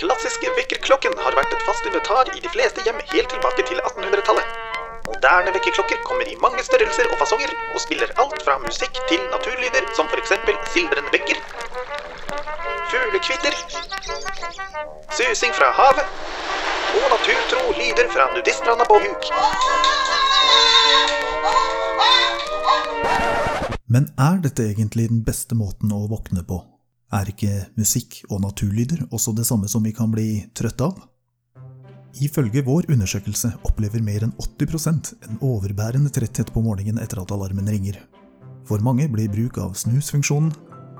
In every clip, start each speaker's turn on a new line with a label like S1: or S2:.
S1: klassiske vekkerklokken har vært et fast inventar i de fleste hjem helt tilbake til 1800-tallet. Moderne vekkerklokker kommer i mange størrelser og fasonger, og spiller alt fra musikk til naturlyder, som f.eks. sildrende vekker, fuglekvitter, susing fra havet og naturtro lyder fra nudiststranda på Huk.
S2: Men er dette egentlig den beste måten å våkne på? Er ikke musikk og naturlyder også det samme som vi kan bli trøtte av? Ifølge vår undersøkelse opplever mer enn 80 en overbærende tretthet på morgenen etter at alarmen ringer. For mange blir bruk av snusfunksjonen,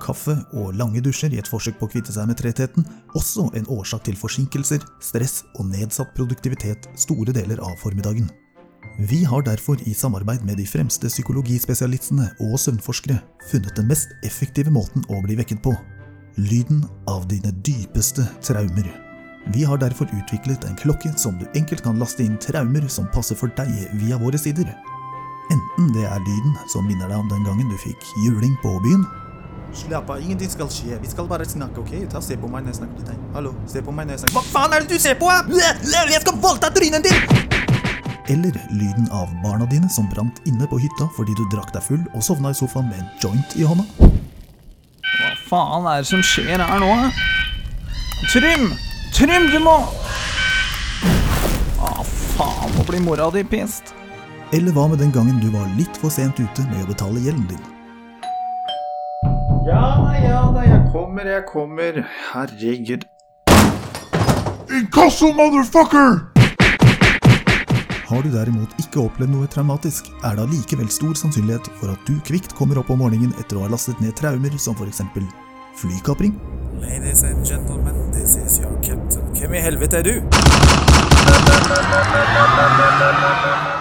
S2: kaffe og lange dusjer i et forsøk på å kvitte seg med trettheten også en årsak til forsinkelser, stress og nedsatt produktivitet store deler av formiddagen. Vi har derfor i samarbeid med de fremste psykologispesialistene og søvnforskere funnet den mest effektive måten å bli vekket på. Lyden av dine dypeste traumer. Vi har derfor utviklet en klokke som du enkelt kan laste inn traumer som passer for deg via våre sider. Enten det er lyden som minner deg om den gangen du fikk juling på byen,
S3: Slapp av, ingenting skal skje. Vi skal bare snakke, OK? Ta Se på meg når jeg snakker til deg. Hallo, se på meg når jeg snakker Hva faen er det du ser på? hæ? Jeg skal voldta trynet ditt!
S2: eller lyden av barna dine som brant inne på hytta fordi du drakk deg full og sovna i sofaen med en joint i hånda,
S4: Hva faen er det som skjer her nå? Trym! Trym, du må Å, faen, nå blir mora di pissed.
S2: eller hva med den gangen du var litt for sent ute med å betale gjelden din.
S3: Ja da, ja da, jeg kommer, jeg kommer. Herregud.
S5: Inkasso, motherfucker!
S2: Har du derimot ikke opplevd noe traumatisk, er det allikevel stor sannsynlighet for at du kvikt kommer opp om morgenen etter å ha lastet ned traumer som f.eks. flykapring,
S6: Ladies and gentlemen, this is your captain. Hvem i helvete er du?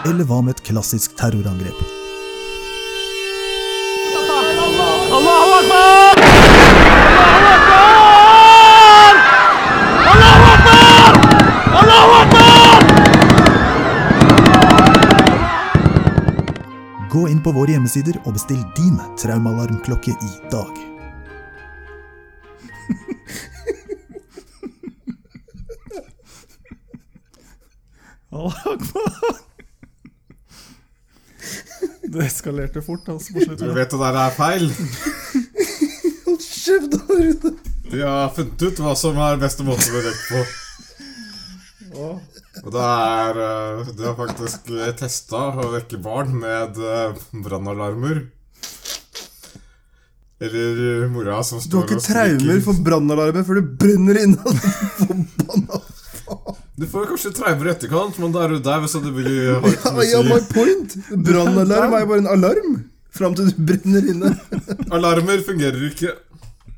S2: eller hva med et klassisk terrorangrep? Gå inn på våre hjemmesider og bestill din traumealarmklokke i dag.
S3: Det eskalerte fort, altså, på
S5: Du vet det der er feil.
S3: Kjeft, Rune.
S5: De har funnet ut hva som er beste måte å bli vekt på. Og det er eh, De har faktisk testa å vekke barn med eh, brannalarmer. Eller eh, mora som
S7: Du
S5: står
S7: har ikke
S5: og
S7: traumer
S5: skriker.
S7: for brannalarmen før du brenner inne av den forbanna
S5: Du får kanskje traumer i etterkant, men da er du der hvis du vil ha
S7: Ja, ja, my point! Brannalarm er jo bare en alarm. Fram til du brenner inne.
S5: Alarmer fungerer ikke.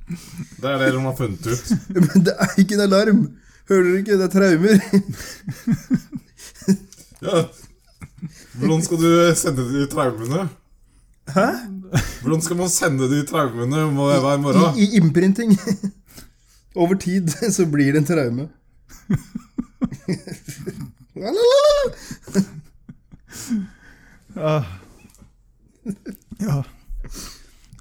S5: Det er det de har funnet ut.
S7: Men det er ikke en alarm. Hører du ikke? Det er traumer.
S5: Ja. Hvordan skal du sende de traumene?
S7: Hæ?
S5: Hvordan skal man sende de traumene må- hver morgen?
S7: I, i innprinting. Over tid så blir det en traume. Lalalala.
S3: Ah. Ja.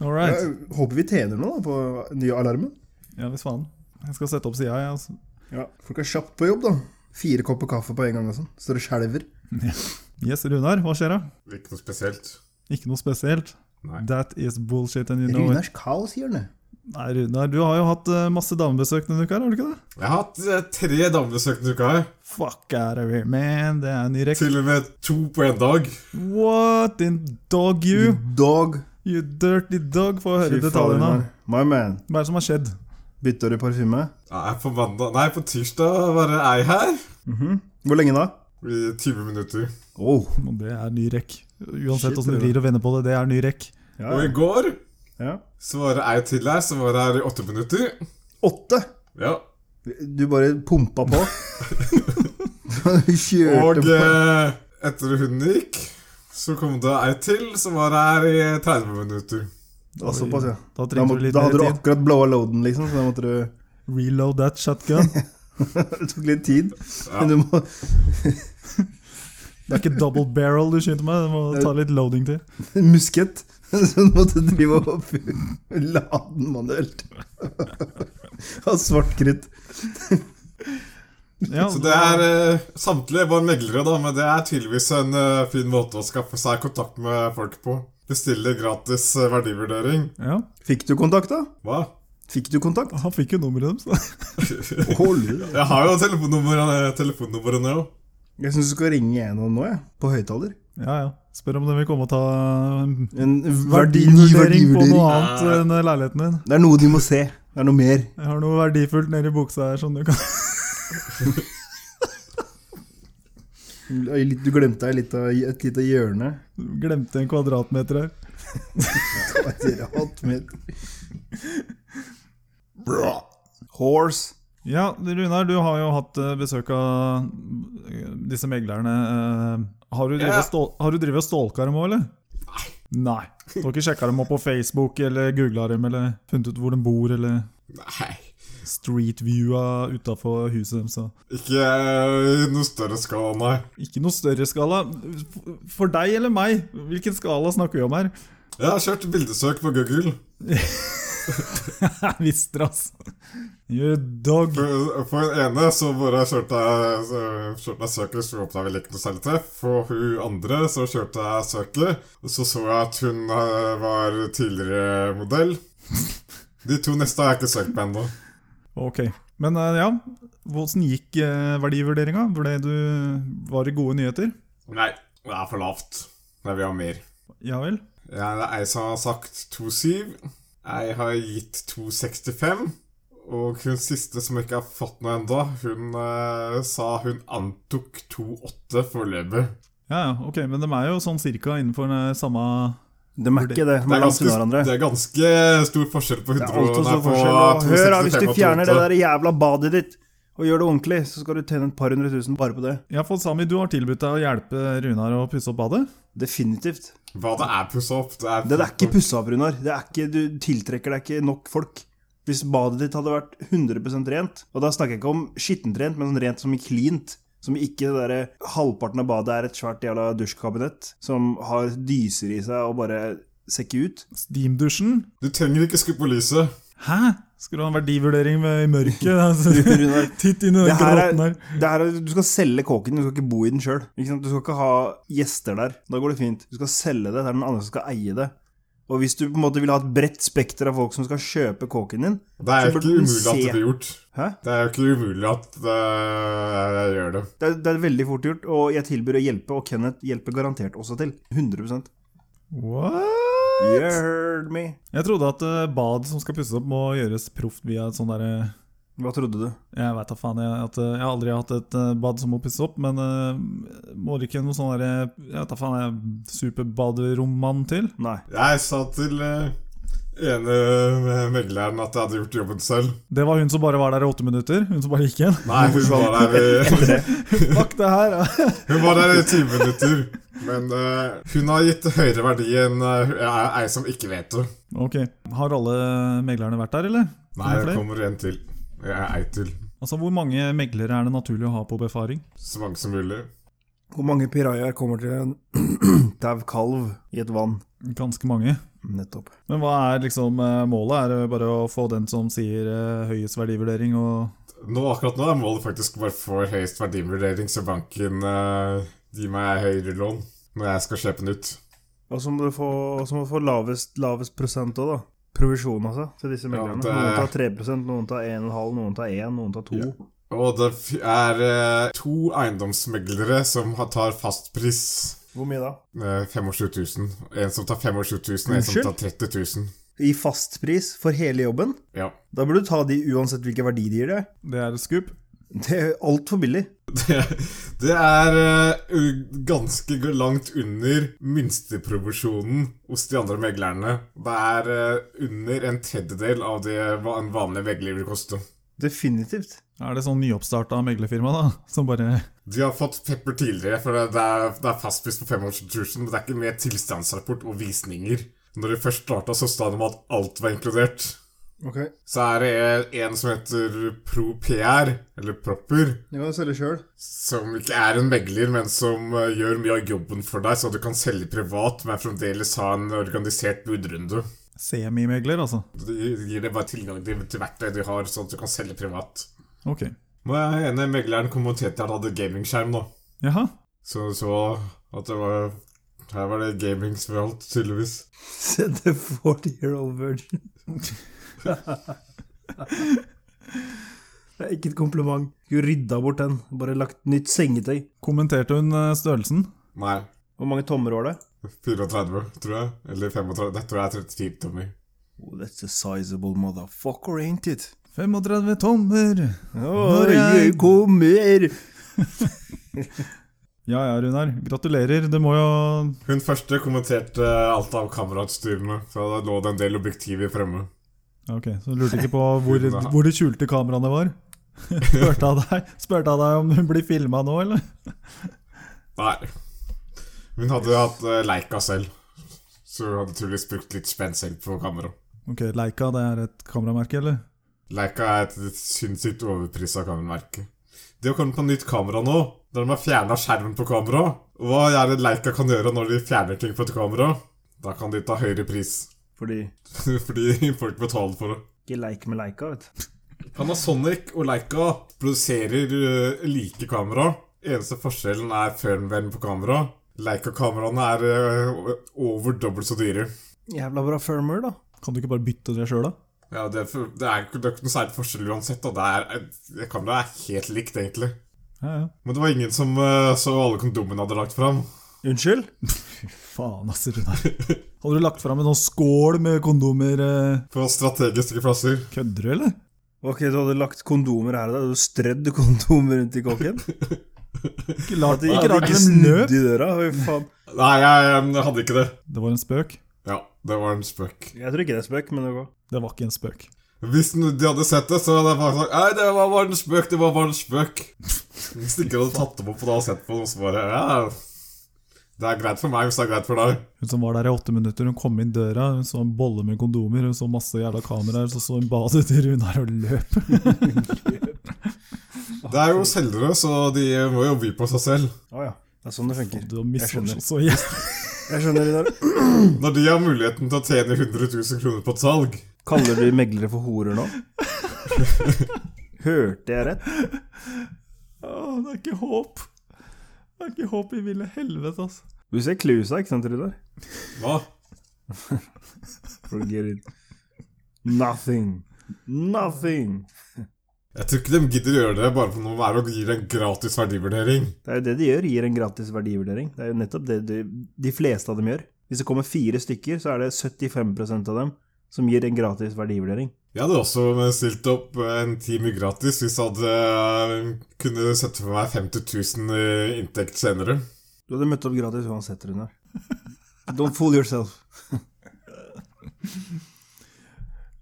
S3: All right.
S7: Jeg håper vi tjener noe da på nye alarmen.
S3: Ja, hvis faen. Jeg skal sette opp sida, jeg. Altså.
S7: Ja. Folk er kjapt på jobb, da. Fire kopper kaffe på en gang og sånn. Står og skjelver.
S3: Yes, Runar, hva skjer da?
S5: Ikke noe spesielt.
S3: Ikke noe spesielt?
S5: Nei.
S3: That is bullshit and you know it.
S7: Runars kaos, sier han det.
S3: Nei, Runar, du har jo hatt eh, masse damebesøk denne uka, her, har du ikke det?
S5: Jeg har hatt eh, tre damebesøk denne uka her.
S3: Fuck out of here, man. Det er en ny rekk.
S5: Til og med to på én dag.
S3: What in dog you?
S7: Dog.
S3: You dirty dog. Få høre
S7: Fy faen,
S3: detaljene.
S7: Runar. My man.
S3: Hva er det som har skjedd?
S7: Bytter du parfyme?
S5: Nei, på mandag Nei, på tirsdag var det ei her.
S7: Hvor lenge da?
S5: I 20 minutter.
S7: Oh.
S3: Og det er ny rekk. Uansett
S7: Shit,
S3: åssen du
S7: Runar.
S3: vrir og vender på det, det er ny rekk.
S7: Ja.
S5: Og i går
S7: ja.
S5: så var det ei til her som var her i åtte minutter.
S7: Åtte!
S5: Ja.
S7: Du bare pumpa på. Du
S5: Og
S7: Kjørte på.
S5: eh, etter hun gikk, så kom det ei til som var her i 30 minutter.
S7: Ja, såpass, ja.
S3: Da
S7: Da,
S3: trengte
S7: må,
S3: du litt
S7: da
S3: mer
S7: hadde du
S3: tid.
S7: akkurat blowa loaden, liksom, så da måtte du
S3: Reload that shotgun.
S7: Det tok litt tid. Men du må
S3: Det er ikke double barrel du skyter med. Du må ta litt loading til.
S7: En muskett. Så du måtte drive og lade den manuelt. Av svart krutt.
S2: Ja,
S5: Så det er eh, Samtlige var meglere, da, men det er tydeligvis en eh, fin måte å skaffe seg kontakt med folk på. Bestille gratis eh, verdivurdering.
S2: ja.
S7: Fikk du kontakt, da?
S5: Hva?
S7: Fikk du kontakt?
S2: Han fikk jo nummeret deres. da.
S7: Hold.
S5: Jeg har jo telefonnummer- eh, telefonnummeret nå.
S7: Jeg syns du skal ringe en av dem nå, jeg. På høyttaler.
S2: Ja, ja. Spør om de vil komme og ta en
S7: En verdi, ny
S2: verdivurdering på noe
S7: verdivurdering.
S2: annet enn leiligheten din.
S7: Det er noe de må se. Det er noe mer.
S2: Jeg har noe verdifullt nedi buksa her som du kan
S7: Litt- Du glemte deg litt av et lite hjørne.
S2: Glemte en kvadratmeter her.
S7: Horse.
S2: Ja, Runar, du har jo hatt eh, besøk av eh, disse meglerne. eh, Har du drevet og stål- har du drevet og stalka dem òg, eller? Nei. Du har ikke sjekka dem opp på Facebook eller googla dem eller funnet ut hvor de bor eller
S5: Nei.
S2: streetviewa utafor huset deres? og-
S5: Ikke eh, i noe større skala, nei.
S2: Ikke noe større skala. For- For deg eller meg, hvilken skala snakker vi om her?
S5: Jeg har kjørt bildesøk på Google.
S2: Jeg visste det, altså. You dog.
S5: For, for den ene så bare kjørte jeg, så kjørte jeg søket, så åpna vel ikke noe særlig treff. For hun andre så kjørte jeg søket, og så så jeg at hun eh, var tidligere modell. De to neste har jeg ikke søkt på ennå.
S2: Ok. Men eh, ja, hvordan gikk eh, verdivurderinga? Ble du, var det gode nyheter?
S5: Nei, det er for lavt. Jeg vil ha mer.
S2: Ja vel?
S5: Ja, det er ei som har sagt 2,7. Jeg har gitt 2,65. Og hun siste, som ikke har fått noe ennå, hun eh, sa hun antok 2,8 foreløpig.
S2: Ja, ja, ok, men de er jo sånn cirka innenfor den samme
S7: De er ikke det. De
S5: Det
S7: er
S5: er,
S7: langt unna
S5: ganske,
S7: hverandre.
S5: det er ganske stor forskjell på
S7: Det
S5: 100
S7: er altfor
S5: nei,
S7: stor
S5: på
S7: forskjell. Og Hør, da,
S5: 265
S7: hvis du
S5: og
S7: fjerner det
S5: 2,8.
S7: der jævla badet ditt og gjør det ordentlig, så skal du tjene et par hundre tusen bare på det.
S2: Ja, for Sami, du har tilbudt deg å hjelpe Runar å pusse opp badet?
S7: Definitivt.
S5: Hva det er pussa opp? Det er,
S7: Det er ikke pussa opp, Runar. Det er ikke, du tiltrekker deg ikke nok folk. Hvis badet ditt hadde vært 100 rent, og da snakker jeg ikke om skittent rent, men sånn rent som i cleant som ikke det der, Halvparten av badet er et svært jævla dusjkabinett som har dyser i seg og bare ser ikke ut.
S2: Steamdusjen?
S5: Du trenger ikke skru på lyset.
S2: Hæ? Skal du ha en verdivurdering med, i mørket? Altså,
S7: Runar,
S2: titt inn i
S7: det
S2: den
S7: her er,
S2: gråten her.
S7: det her er, du skal selge kåken, du skal ikke bo i den sjøl. Du skal ikke ha gjester der. Da går det fint. Du skal selge det, det er den andre som skal eie det. Og hvis du på en måte vil ha et bredt spekter av folk som skal kjøpe kåken din
S5: Det er
S7: Så
S5: jo
S7: burde
S5: ikke
S7: den
S5: umulig at
S7: se.
S5: det blir gjort.
S7: Hæ?
S5: Det er jo ikke umulig at eh, jeg gjør det.
S7: Det er, det er veldig fort gjort, og jeg tilbyr å hjelpe, og Kenneth hjelper garantert også til. 100
S2: What?
S7: You heard me.
S2: Jeg trodde at eh, bad som skal pusses opp, må gjøres proft via et sånn derre
S7: Hva trodde du?
S2: Jeg vet da faen. Jeg, at, eh, jeg har aldri hatt et eh, bad som må pusses opp, men eh, må det ikke noe sånn derre Jeg vet da faen, jeg, superbaderommann til?
S7: Nei.
S5: Jeg sa til eh, ene eh, megleren at jeg hadde gjort jobben selv.
S2: Det var hun som bare var der i åtte minutter? Hun som bare gikk igjen?
S5: Nei, hun var der i,
S2: Fuck det her! ja.
S5: hun var der i ti minutter. Men eh, hun har gitt høyere verdi enn eh, jeg- ei som ikke vet det.
S2: ok. Har alle meglerne vært der, eller?
S5: Nei,
S2: flere?
S5: det kommer en til. Jeg ei til.
S2: Altså, Hvor mange meglere er det naturlig å ha på befaring?
S5: Så mange som mulig.
S7: Hvor mange pirajaer kommer til en dau kalv i et vann?
S2: Ganske mange.
S7: Nettopp.
S2: Men hva er liksom eh, målet? Er det bare å få den som sier eh, høyest verdivurdering og
S5: Nå, akkurat nå er målet faktisk bare for høyest verdivurdering, så banken eh, gir meg høyere lån når jeg skal kjøpe nytt.
S7: Og så må du få, og så må du få lavest, lavest prosent òg, da. Provisjon, altså, til disse meglerne.
S5: det-
S7: Noen tar 3 noen tar 1,5 noen tar 1 noen tar 2
S5: Og det f- er eh, to eiendomsmeglere som har- tar fastpris.
S7: Hvor mye da?
S5: eh, 25 000. En som tar 25 000, og en som
S7: Unnskyld?
S5: tar 30 000.
S7: I fastpris for hele jobben?
S5: Ja.
S7: Da burde du ta de uansett hvilken verdi de gir deg.
S2: Det er et skup.
S7: Det er altfor billig.
S5: Det er eh, u- ganske g- langt under minsteprovisjonen hos de andre meglerne. Det er eh, under en tredjedel av det hva en vanlig megler vil koste.
S7: Definitivt.
S2: Er det sånn nyoppstarta meglerfirma, da? Som bare
S5: De har fått pepper tidligere, for det er, det er fastpris på 25 000, men det er ikke med tilstandsrapport og visninger. Når de først starta, så sa de at alt var inkludert.
S7: Ok,
S5: Så er det en som heter ProPR, eller Propper,
S7: det kan du selge sjøl.
S5: Som ikke er en megler, men som eh, gjør mye av jobben for deg, så du kan selge privat, men fremdeles ha en organisert budrunde.
S2: semimegler, altså?
S5: Det gir deg bare tilgang til, til verktøy du har, sånn at du kan selge privat.
S2: Ok.
S5: Men den ene megleren kommenterte at han hadde gamingskjerm nå.
S2: Jaha.
S5: Så så at det var Her var det gaming som gjaldt, tydeligvis.
S7: Said the 40-year-old virgin. det er ikke et kompliment. Skulle rydda bort den. Bare lagt nytt sengetøy.
S2: Kommenterte hun eh, størrelsen?
S5: Nei.
S7: Hvor mange tommer var det? 34,
S5: tror jeg. Eller 35. Det tror jeg er 35 tommer.
S7: Oh, that's a sizable motherfucker, ain't it?
S2: 35 tommer.
S7: Når
S2: jeg
S7: kommer
S2: Ja ja, Runar. Gratulerer. Du må jo
S5: Hun første kommenterte alt av kamerautstyrene. Så da lå det en del objektiver fremme.
S2: Ja, Ok, så du lurte ikke på hvor, hvor de skjulte kameraene var? Spurte av deg, spurte av deg om hun blir filma nå, eller?
S5: Nei. Hun hadde hatt uh, Leica selv. Så hun hadde tydeligvis brukt litt spenn selv på kamera.
S2: Ok, Leica, det er et kameramerke, eller?
S5: Leica er et sinnssykt overprisa kameramerke. Det å komme på nytt kamera nå, der de har fjerna skjermen på kamera Hva er det Leica kan gjøre når de fjerner ting på et kamera? Da kan de ta høyere pris.
S7: Fordi
S5: Fordi folk betaler for det.
S7: Ikke leik med leika, vet du.
S5: Panasonic og Leica produserer eh, like kamera. Eneste forskjellen er firmwaren på kamera. Leica-kameraene er eh, over dobbelt så dyre.
S7: Jævla bra firmware, da.
S2: Kan du ikke bare bytte det sjøl, da?
S5: Ja, det, er for- det, er, ikke- det er ikke noe særlig forskjell uansett. Da. Det er, det kameraet er helt likt, egentlig.
S2: Ja, ja.
S5: Men det var ingen som eh, så alle kondomene hadde lagt fram.
S7: Unnskyld?
S2: Faen, ass, Runar. Hadde du lagt fram en sånn skål med kondomer? eh,
S5: På strategiske plasser.
S2: Kødder du, eller?
S7: Ok, du hadde lagt kondomer her og der. Du strødd kondomer rundt i kåken.
S2: Ikke rart
S7: At
S2: ikke
S7: de
S2: rart den
S7: ikke
S2: løp.
S7: snudde i døra. Oi, faen.
S5: Nei, jeg, jeg hadde ikke det.
S2: Det var en spøk.
S5: Ja, det var en spøk.
S7: Jeg tror ikke det er spøk, men det går.
S2: Det var ikke en spøk.
S5: Hvis de hadde sett det, så hadde jeg bare sagt Nei, det var bare en spøk, det var bare en spøk. Hvis de ikke hadde tatt dem opp og da sett på dem, så bare Ja, det er greit for meg hvis det er greit for deg.
S2: Hun som var der i åtte minutter, hun kom inn døra, hun så en bolle med kondomer, hun så masse jævla kameraer, så så hun badet til Runar og løp.
S5: Det er jo selgere, så de må jo by på seg selv.
S7: Å ja. Det er sånn det funker.
S2: Du har
S7: Jeg skjønner.
S2: misforstått så jævlig.
S7: Jeg skjønner Runar.
S5: Når de har muligheten til å tjene 100 000 kroner på et salg
S7: Kaller du meglere for horer nå? Hørte jeg rett?
S2: Å, Det er ikke håp. Det er ikke håp i ville helvete, altså.
S7: Du ser klusa, ikke sant, Runar?
S5: Hva?
S7: Forget it. Nothing. Nothing.
S5: Jeg tror ikke de gidder å gjøre det bare for noe å være og gi det en gratis verdivurdering.
S7: Det er jo det de gjør, gir en gratis verdivurdering. Det er jo nettopp det de, de fleste av dem gjør. Hvis det kommer fire stykker, så er det 75 av dem som gir en gratis verdivurdering.
S5: Jeg hadde også stilt opp eh, en time gratis hvis jeg hadde eh, kunne sette for meg 50 000 i inntekt senere.
S7: Du hadde møtt opp gratis uansett, Runar. Don't fool yourself.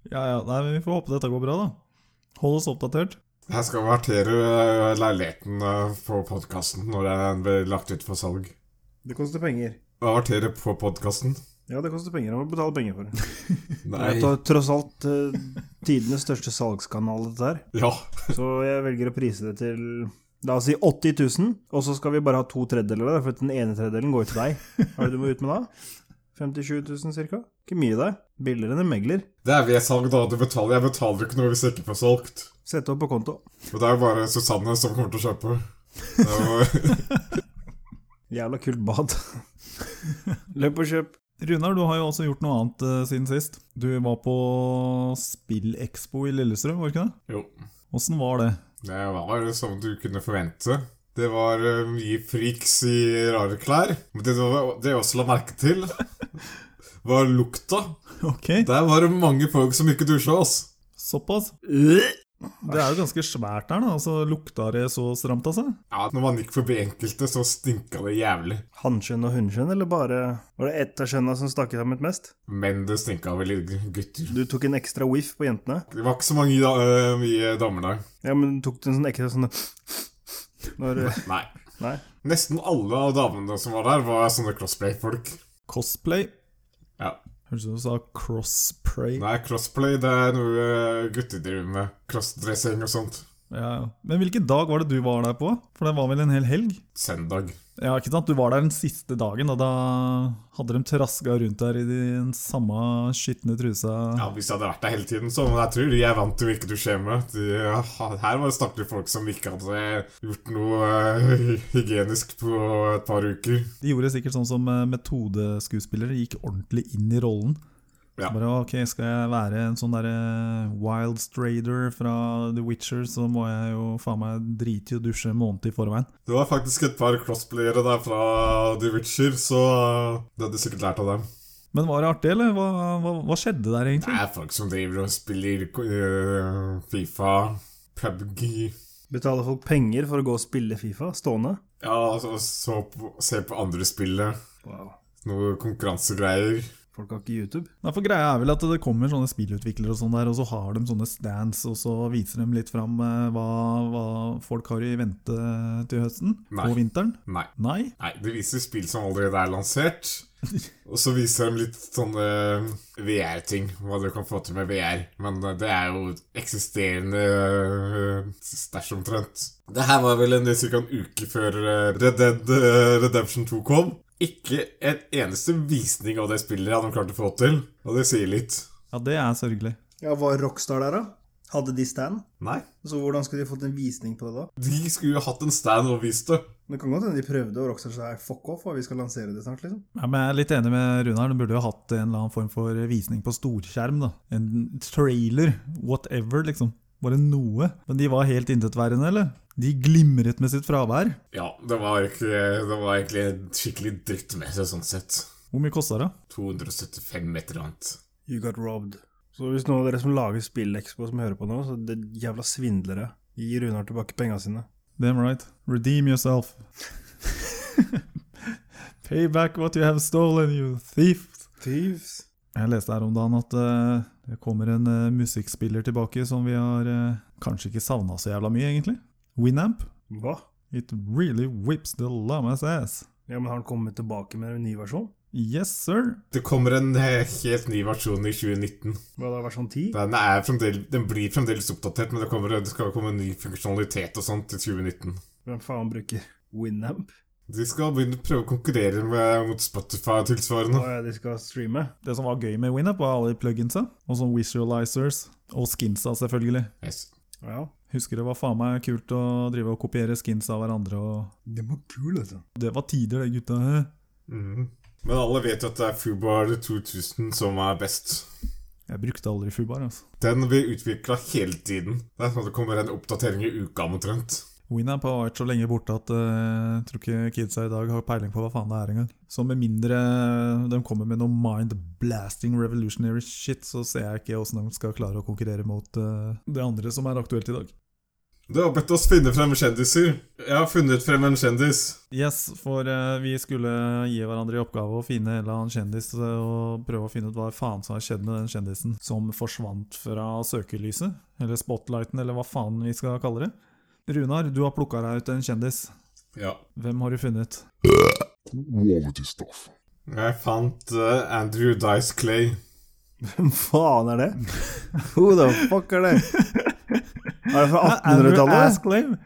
S2: Ja, ja, nei, men vi får håpe dette går bra, da. Hold oss oppdatert.
S5: Jeg skal vertere eh, leiligheten eh, på podkasten når den blir lagt ut for salg.
S7: Det koster penger.
S5: Hva vertere på podkasten?
S7: Ja, det koster penger. Jeg må betale penger for det.
S5: Nei
S7: Det er tross alt eh, tidenes største salgskanal, dette her.
S5: Ja.
S7: Så jeg velger å prise det til La oss si 80 000, og så skal vi bare ha to tredjedeler der, for den ene tredjedelen går jo til deg. Hva er det du må ut med da? 57 000 ca.? Ikke mye, det. Billigere enn en megler.
S5: Det er ved salg, da. Du betaler. Jeg betaler ikke noe hvis jeg ikke får solgt.
S7: Sette opp på konto.
S5: Og det er jo bare Susanne som kommer til å kjøpe. Det er jo-
S7: Jævla kult bad. Løp og kjøp.
S2: Runar, du har jo også gjort noe annet eh, siden sist. Du var på Spillekspo i Lillestrøm, var det ikke det?
S5: Jo.
S2: Åssen var det?
S5: Det var jo som du kunne forvente. Det var eh, mye freaks i rare klær. Men det, var- det jeg også la merke til, var lukta.
S2: Ok,
S5: Der var det mange folk som ikke dusja, ass.
S2: såpass. Det er jo ganske svært der, da. Altså, lukta det så stramt altså. av seg?
S5: Ja, Når man gikk forbi enkelte, så stinka det jævlig.
S7: Hannkjønn og hunnkjønn, eller bare Var det ett av kjønna som stakk ut sammen mest?
S5: Men det stinka vel litt gutter.
S7: Du tok en ekstra whiff på jentene?
S5: Det var ikke så mange da, øh, mye damer der.
S7: Ja, men tok du en sånn ekstra sånn Når eh,
S5: Nei.
S7: Nei.
S5: Nesten alle av damene som var der, var sånne crossplay-folk.
S2: Cosplay.
S5: Ja.
S2: Høres ut som du sa crosspray.
S5: Nei, crossplay det er noe øh, gutter driver med. Crossdressing og sånt.
S2: Ja, ja. Men hvilken dag var det du var der på? For det var vel en hel helg?
S5: Søndag.
S2: Ja, ikke sant? Du var der den siste dagen, og da hadde de traska rundt der i den samme skitne trusa.
S5: Ja, Hvis jeg hadde vært der hele tiden, så Men jeg tror de er vant til å ikke dusje hjemme. De, ja, her var det stakkars folk som ikke hadde gjort noe eh, hygienisk på et par uker.
S2: De gjorde sikkert sånn som eh, metodeskuespillere gikk ordentlig inn i rollen.
S5: Ja.
S2: Så bare, ok, Skal jeg være en sånn derre wild strader fra The Witcher, så må jeg jo faen meg drite i å dusje en måned i forveien.
S5: Det var faktisk et par crossplayere der fra The Witcher, så eh, det hadde jeg sikkert lært av dem.
S2: Men var det artig, eller? Hva, hva, hva skjedde der,
S5: Det
S2: egentlig?
S5: er folk som driver og spiller eh, Fifa, PubG
S7: Betaler folk penger for å gå og spille Fifa stående?
S5: Ja, altså så på, se på andre spillet. Noe konkurransegreier.
S7: Folk har ikke YouTube.
S2: Nei, for greia er vel at det kommer sånne spillutviklere og sånn der, og så har de sånne stands, og så viser de litt fram eh, hva, hva folk har i vente til høsten
S5: Nei.
S2: og vinteren.
S5: Nei.
S2: Nei?
S5: Nei, det viser spill som allerede er lansert. Og så viser de litt sånne VR-ting, hva du kan få til med VR. Men eh, det er jo eksisterende eh, stæsj omtrent. Det her var vel en ca. en uke før eh, Red Dead eh, Redemption 2 kom. Ikke en eneste visning av det spillet hadde de klart å få til. Og det sier litt.
S2: Ja, det er sørgelig.
S7: Ja, Var Rockstar der, da? Hadde de stand?
S5: Nei.
S7: Så hvordan skulle de fått en visning på det da?
S5: De skulle jo hatt en stand og vist det.
S7: Det kan godt hende de prøvde, og Rockstar sa fuck off, og vi skal lansere det snart, liksom.
S2: Ja, men jeg er litt enig med Runar. De burde jo hatt en eller annen form for visning på storskjerm. da. En trailer, whatever, liksom. Bare noe. Men de var helt intetværende, eller? De glimret med sitt fravær.
S5: Ja, det var, ikke, det var egentlig skikkelig drittmessig sånn sett.
S2: Hvor mye kosta det?
S5: 275 et eller annet.
S7: You got robbed. Så hvis noen av dere som lager SpillExpo som hører på nå, så det er jævla svindlere. Gi Runar tilbake penga sine.
S2: Damn right. Redeem yourself. Pay back what you have stolen, you thief.
S7: Thieves.
S2: Jeg leste her om dagen at eh, det kommer en eh, musikkspiller tilbake som vi har eh, kanskje ikke savna så jævla mye, egentlig. Winamp.
S7: Hva?
S2: It really whips the llamas ass.
S7: Ja, men Har han kommet tilbake med en ny versjon?
S2: Yes, sir.
S5: Det kommer en eh, helt ny versjon i 2019.
S7: Hva da, versjon 10?
S5: Den, er fremdel- den blir fremdeles oppdatert, men det, kommer, det skal komme en ny funksjonalitet og sånt i 2019.
S7: Hvem faen bruker Winamp?
S5: De skal begynne å prøve å konkurrere med, mot Spotify
S7: Å
S5: og tilsvarende.
S7: ja, de skal streame?
S2: Det som var gøy med Winup, var alle pluginsa. Og sånn visualizers. Og skinsa, selvfølgelig.
S5: Yes.
S7: Ja.
S2: Husker det var faen meg kult å drive og kopiere skins av hverandre. og
S7: Det var kul, altså.
S2: Det var tider, det, gutta. eh. hæ?
S5: Mhm. Men alle vet jo at det er Fubar 2000 som er best.
S2: Jeg brukte aldri Fubar. altså.
S5: Den blir utvikla hele tiden. Det er sånn at det kommer en oppdatering i uka omtrent.
S2: Winup har vært så lenge borte at eh, jeg tror ikke kidsa i dag har peiling på hva faen det er engang. Så med mindre eh, de kommer med noe mind-blasting revolutionary shit, så ser jeg ikke åssen de skal klare å konkurrere mot eh, det andre som er aktuelt i dag.
S5: Du har bedt oss finne frem kjendiser. Jeg har funnet frem en kjendis.
S2: Yes, for eh, vi skulle gi hverandre i oppgave å finne en eller annen kjendis eh, og prøve å finne ut hva faen som har skjedd med den kjendisen som forsvant fra søkelyset, eller spotlighten, eller hva faen vi skal kalle det. Runar, du har plukka deg ut en kjendis.
S5: Ja.
S2: Hvem har du funnet?
S5: Jeg fant eh, Andrew Dice Clay.
S7: Hvem faen er det? Who the fuck er det? Er det fra
S2: Andrew
S7: 1800-tallet?
S2: Asklave.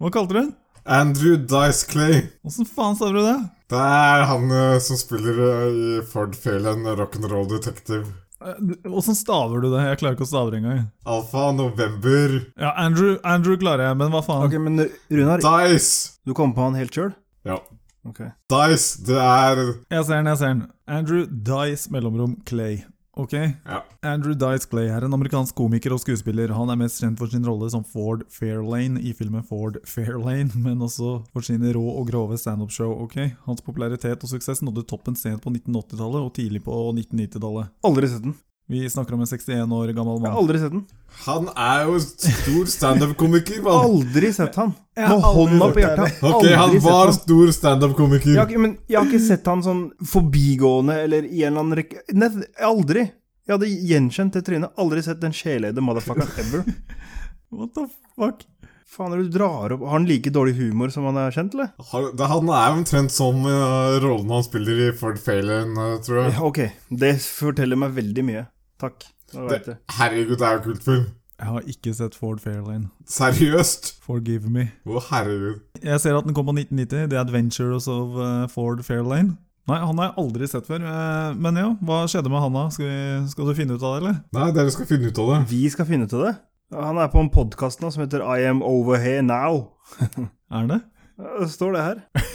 S2: Hva kalte du den?
S5: Andrew Dice Clay.
S2: Åssen faen sa du det?
S5: Det er han eh, som spiller eh, i Ford Felen Rock'n'Roll Detective.
S2: Eh, Åssen staver du det? Jeg klarer ikke å stave det engang.
S5: Alfa November
S2: Ja, Andrew, Andrew klarer jeg, men hva faen?
S7: Ok, men eh, Runar,
S5: Dice!
S7: du kom på han helt sjøl?
S5: Ja.
S7: Ok.
S5: Dice, det er
S2: Jeg ser den, jeg ser den. Andrew Dice mellomrom Clay. Ok?
S5: Ja.
S2: Andrew Dice Clay er en amerikansk komiker og skuespiller. Han er mest kjent for sin rolle som Ford Fairlane i filmen Ford Fairlane, men også for sine rå og grove standup-show. ok? Hans popularitet og suksess nådde toppen sent på 1980-tallet og tidlig på 1990-tallet.
S7: Aldri sett den.
S2: Vi snakker om en 61 år gammel
S7: Jeg
S2: mann.
S7: har aldri sett den.
S5: Han er jo stor standup-komiker, mann.
S7: Aldri sett han.
S2: har
S7: Med
S2: aldri
S7: hånda
S2: hørt
S7: på hjertet.
S5: Ok,
S7: Aldri
S5: han
S7: sett
S5: var
S7: han.
S5: stor standup-komiker.
S7: jeg har, ikke- men jeg har ikke sett han sånn forbigående eller i en eller annen rekke Nei, aldri. Jeg hadde gjenkjent det trynet. Aldri sett den sjeleide motherfuckeren ever.
S2: What the fuck?
S7: Faen, er det du drar opp Har han like dårlig humor som han er kjent, eller?
S5: Han det- han er jo omtrent sånn eh, rollen han spiller i Ford Felen, eh, tror jeg.
S7: Ja, Ok, det forteller meg veldig mye. Takk. Da vet jeg.
S5: Det, herregud, det er jo kult film.
S2: Jeg har ikke sett Ford Fairlane.
S5: Seriøst?
S2: Forgive me.
S5: Å, herregud.
S2: Jeg ser at den kom på 1990. The Adventures of eh, Ford Fairlane. Nei, han har jeg aldri sett før. eh, Men ja, hva skjedde med han da? Skal, vi, skal du finne ut av det, eller?
S5: Nei, dere skal finne ut av det.
S7: Vi skal finne ut av det. Han er på en podkast nå som heter I am over here now.
S2: Er han det?
S7: Ja, Det står det her.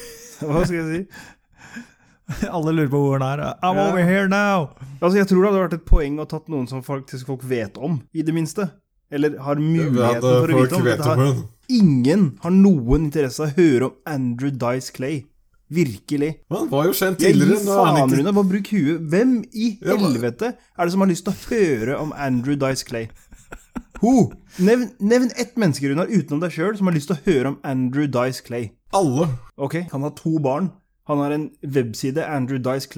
S7: Hva skal jeg si?
S2: Alle lurer på hvor han er. I'm
S7: Ja.
S2: over here now!
S7: Altså, Jeg tror det hadde vært et poeng å tatt noen som faktisk folk vet om, i det minste. Eller har
S5: Vi
S7: muligheten
S5: hadde
S7: for å
S5: eh, folk
S7: vite om.
S5: vet
S7: Dette
S5: om
S7: har,
S5: hun.
S7: ingen har noen interesse av å høre om Andrew Dice Clay. Virkelig.
S5: Han var jo kjent
S7: Jeg gir
S5: tidligere. Nå er han
S7: faen,
S5: ikke
S7: Rune. Bare bruk huet. Hvem i
S5: Ja, hva-
S7: helvete er det som har lyst til å høre om Andrew Dice Clay? Ho! Nevn, nevn ett menneske, Runar, utenom deg sjøl, som har lyst til å høre om Andrew Dice Clay.
S5: alle.
S7: Ok, Han har to barn. Han har en webside,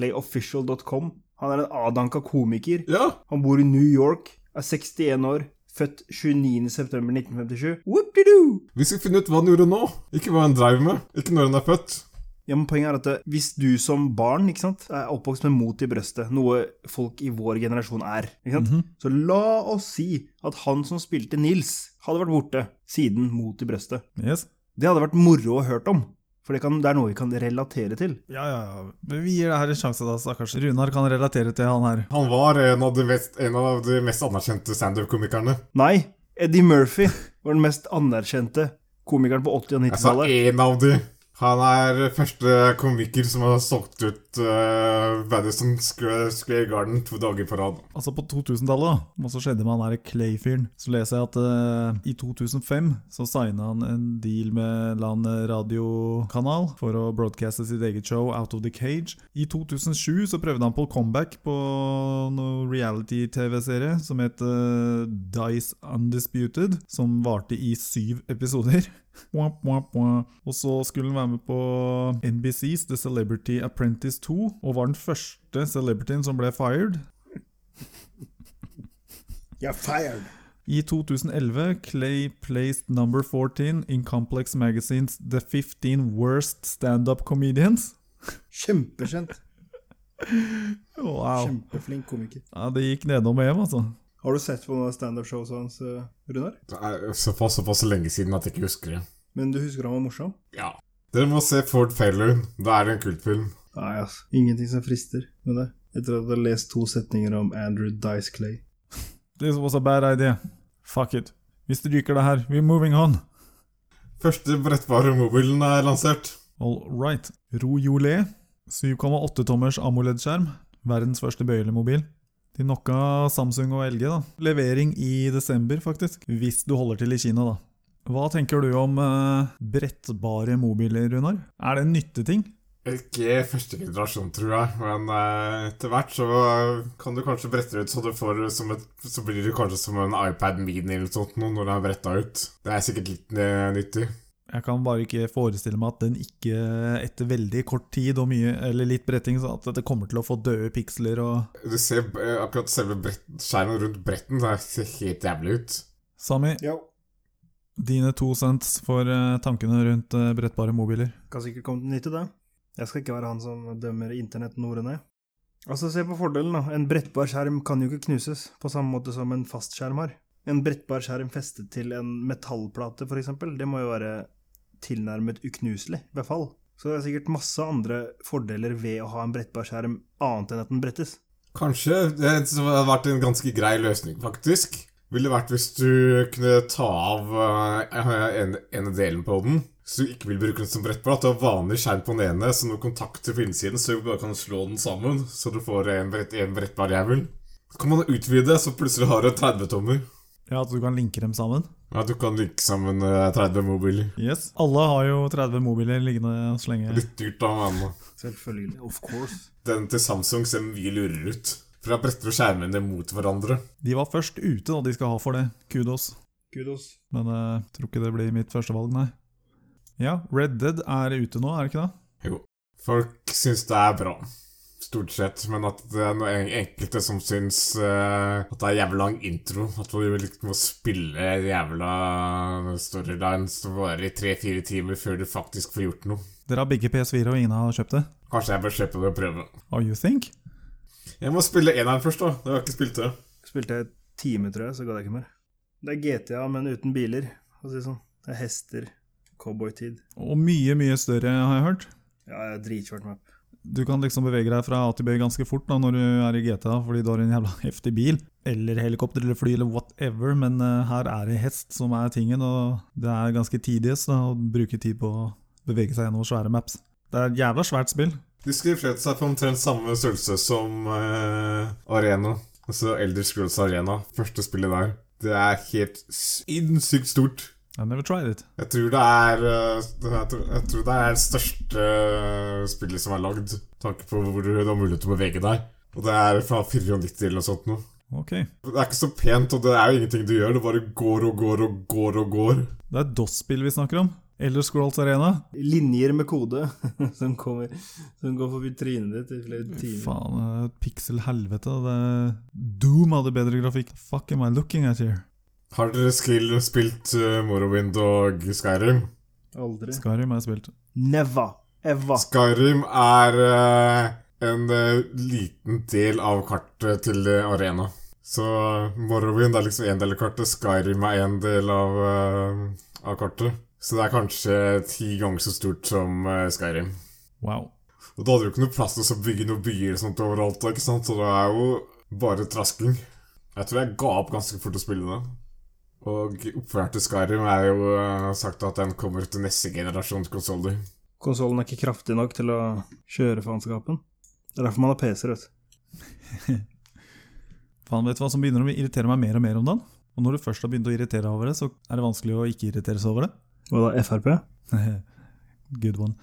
S7: andrewdiceclayofficial.com. Han er en avdanka komiker.
S5: Ja.
S7: Han bor i New York, er 61 år, født 29.9.1957. Whoop-de-doo!
S5: Vi skal finne ut hva han gjorde nå. Ikke hva han dreiv med. Ikke når han er født.
S7: Ja, men Poenget er at eh, hvis du som barn ikke sant, er oppvokst med mot i brøstet, noe folk i vår generasjon er, ikke sant? så la oss si at han som spilte Nils, hadde vært borte siden mot i brøstet.
S2: Yes.
S7: Det hadde vært moro å hørt om, for det, kan, det er noe vi kan relatere til.
S2: Ja, ja, ja. Men Vi gir det her en sjanse, da, stakkars. Runar kan relatere til han her.
S5: Han var en av de mest, en av de mest anerkjente standup-komikerne.
S7: Nei, Eddie Murphy var den mest anerkjente komikeren på 80- og
S5: Jeg sa
S7: 90-tallet.
S5: én av de. Han er første komiker som har solgt ut uh, Madison Square, Square Garden to dager på rad.
S2: Altså På 2000-tallet, da, hva så skjedde med han der Clay-fyren? Så leser jeg at eh, i 2005 så signa han en deal med en eller annen radiokanal for å broadcaste sitt eget show Out of the Cage. I 2007 så prøvde han på comeback på noen reality-TV-serie som het eh, Dice Undisputed, som varte i syv episoder. Womp, womp, womp. Og så skulle han være med på NBCs The Celebrity Apprentice 2, og var den første celebrityen som ble fired. I 2011 Clay placed number 14 in Complex Magazines The 15 Worst Stand-Up Comedians.
S3: Kjempekjent.
S2: Wow.
S7: Kjempeflink komiker.
S2: Ja, det gikk nedom og hjem, altså.
S7: Har du sett på noen standup-shows hans, eh, Runar?
S5: Det er såpass, såpass lenge siden at jeg ikke husker det.
S7: Men du husker han var morsom?
S5: Ja. Dere må se Ford Failure. Det er en kultfilm.
S7: Nei, altså. Ingenting som frister med det. Etter at jeg har lest to setninger om Andrew Dice Clay.
S2: This was a bad idea. Fuck it. Vi stryker det her. We're moving on.
S5: Første brettbare mobilen er lansert.
S2: All right. Rojolet. 7,8-tommers AMOLED-skjerm. Verdens første bøyelemobil. De knocka Samsung og LG, da. Levering i desember, faktisk. Hvis du holder til i Kina, da. Hva tenker du om eh, brettbare mobiler, Runar? Er det en nytteting?
S5: Ikke første generasjon, tror jeg, men eh, etter hvert så eh, kan du kanskje brette det ut så du får det som et Så blir det kanskje som en iPad Mini eller noe sånt nå, når den er bretta ut. Det er sikkert litt eh, nyttig.
S2: Jeg kan bare ikke forestille meg at den ikke etter veldig kort tid og mye, eller litt bretting, så at det kommer til å få døde piksler og
S5: Du ser eh, akkurat selve brett, skjermen rundt bretten, det ser helt jævlig ut.
S2: Sami,
S7: Ja.
S2: dine to cents for eh, tankene rundt eh, brettbare mobiler.
S7: Kan sikkert komme til nytte, det. Jeg skal ikke være han som dømmer internettnordene. Altså, se på fordelen, da. En brettbar skjerm kan jo ikke knuses, på samme måte som en fast skjerm har. En brettbar skjerm festet til en metallplate, for eksempel, det må jo være tilnærmet uknuselig, i hvert fall. Så det er sikkert masse andre fordeler ved å ha en brettbar skjerm, annet enn at den brettes.
S5: Kanskje det som hadde vært en ganske grei løsning, faktisk. Ville vært hvis du kunne ta av eh, en, en av delen på den, så du ikke vil bruke den som brettbrett. Du har vanlig skjerm på den ene, så noen kontakter på innsiden, så du bare kan slå den sammen, så du får en, brett, en brettbar jævel. Så kan man utvide, så plutselig har du en 30-tommer.
S2: Ja, at du kan linke dem sammen.
S5: Ja, du kan linke sammen eh, 30 mobiler.
S2: Yes. Alle har jo 30 mobiler liggende så lenge.
S5: Litt dyrt, da, men
S7: Selvfølgelig. Of course.
S5: den til Samsung ser mye lurere ut. For da bretter du skjermene mot hverandre.
S2: De var først ute, da de skal ha for det. Kudos.
S7: Kudos.
S2: Men eh, tror ikke det blir mitt første valg, nei. Ja, Red Dead er ute nå, er det ikke det?
S5: Jo. Folk syns det er bra. Stort sett. Men at det er noen enkelte som syns eh, at det er jævla lang intro. At du liksom må spille en jævla storyline som varer i tre-fire timer før du faktisk får gjort noe.
S2: Dere har begge PS4, og ingen har kjøpt det.
S5: Kanskje jeg bør kjøpe det og prøve.
S2: Oh, you think?
S5: Jeg må spille eneren først, da. Det har jeg ikke spilt det.
S7: Spilte jeg en time, tror jeg, så gadd jeg ikke mer. Det er GTA, men uten biler. For å si det sånn. Det er hester. Cowboytid.
S2: Og mye, mye større, har jeg hørt.
S7: Ja, jeg har dritkjørt map.
S2: Du kan liksom bevege deg fra A til B ganske fort da, når du er i GTA, fordi du har en jævla heftig bil, eller helikopter eller fly eller whatever, men eh, her er det hest som er tingen, og det er ganske tidies da, å bruke tid på å bevege seg gjennom svære maps. Det er et jævla svært spill.
S5: De skriflet seg på omtrent samme størrelse som eh, Arena. Altså Elder Scrolls Arena, første spillet der. Det er helt sinnssykt stort.
S2: I never tried it.
S5: Jeg tror det er eh, jeg tror, jeg tror det er det største eh, spillet som er lagd. med Tanke på hvor du har mulighet til å bevege deg. Og det er fra 94 eller noe sånt noe.
S2: Ok.
S5: Det er ikke så pent, og det er jo ingenting du gjør. Du bare går og går og går og går.
S2: Det er et DOS-spill vi snakker om. Eller Scrolls Arena.
S7: Linjer med kode som, kommer, som går forbi trynet ditt i flere timer.
S2: Faen, det er et pixel-helvete. Det er Doom hadde bedre grafikk. Fuck am I looking at here?
S5: Har dere skill spilt eh, Morrowind og Skyrim?
S7: Aldri.
S2: Skyrim har jeg spilt.
S7: Never. Ever.
S5: Skyrim er eh, en eh, liten del av kartet til eh, Arena. Så Morrowind er liksom en del av kartet, Skyrim er en del av, eh, av kartet. Så det er kanskje ti ganger så stort som eh, Skyrim.
S2: Wow.
S5: Og da hadde du ikke noe plass til å bygge noen byer og sånt overalt, da, ikke sant? så det er jo bare trasking. Jeg tror jeg ga opp ganske fort å spille det. Og oppfølgeren til Skyrim er jo eh, sagt at den kommer til neste generasjons konsoller.
S7: Konsollen er ikke kraftig nok til å kjøre faenskapen. Det er derfor man har PC-er, vet du.
S2: Faen, vet du hva som begynner å irritere meg mer og mer om dagen? Og når du først har begynt å irritere over det, så er det vanskelig å ikke irritere seg over det.
S7: Hva da, Frp?
S2: Good one.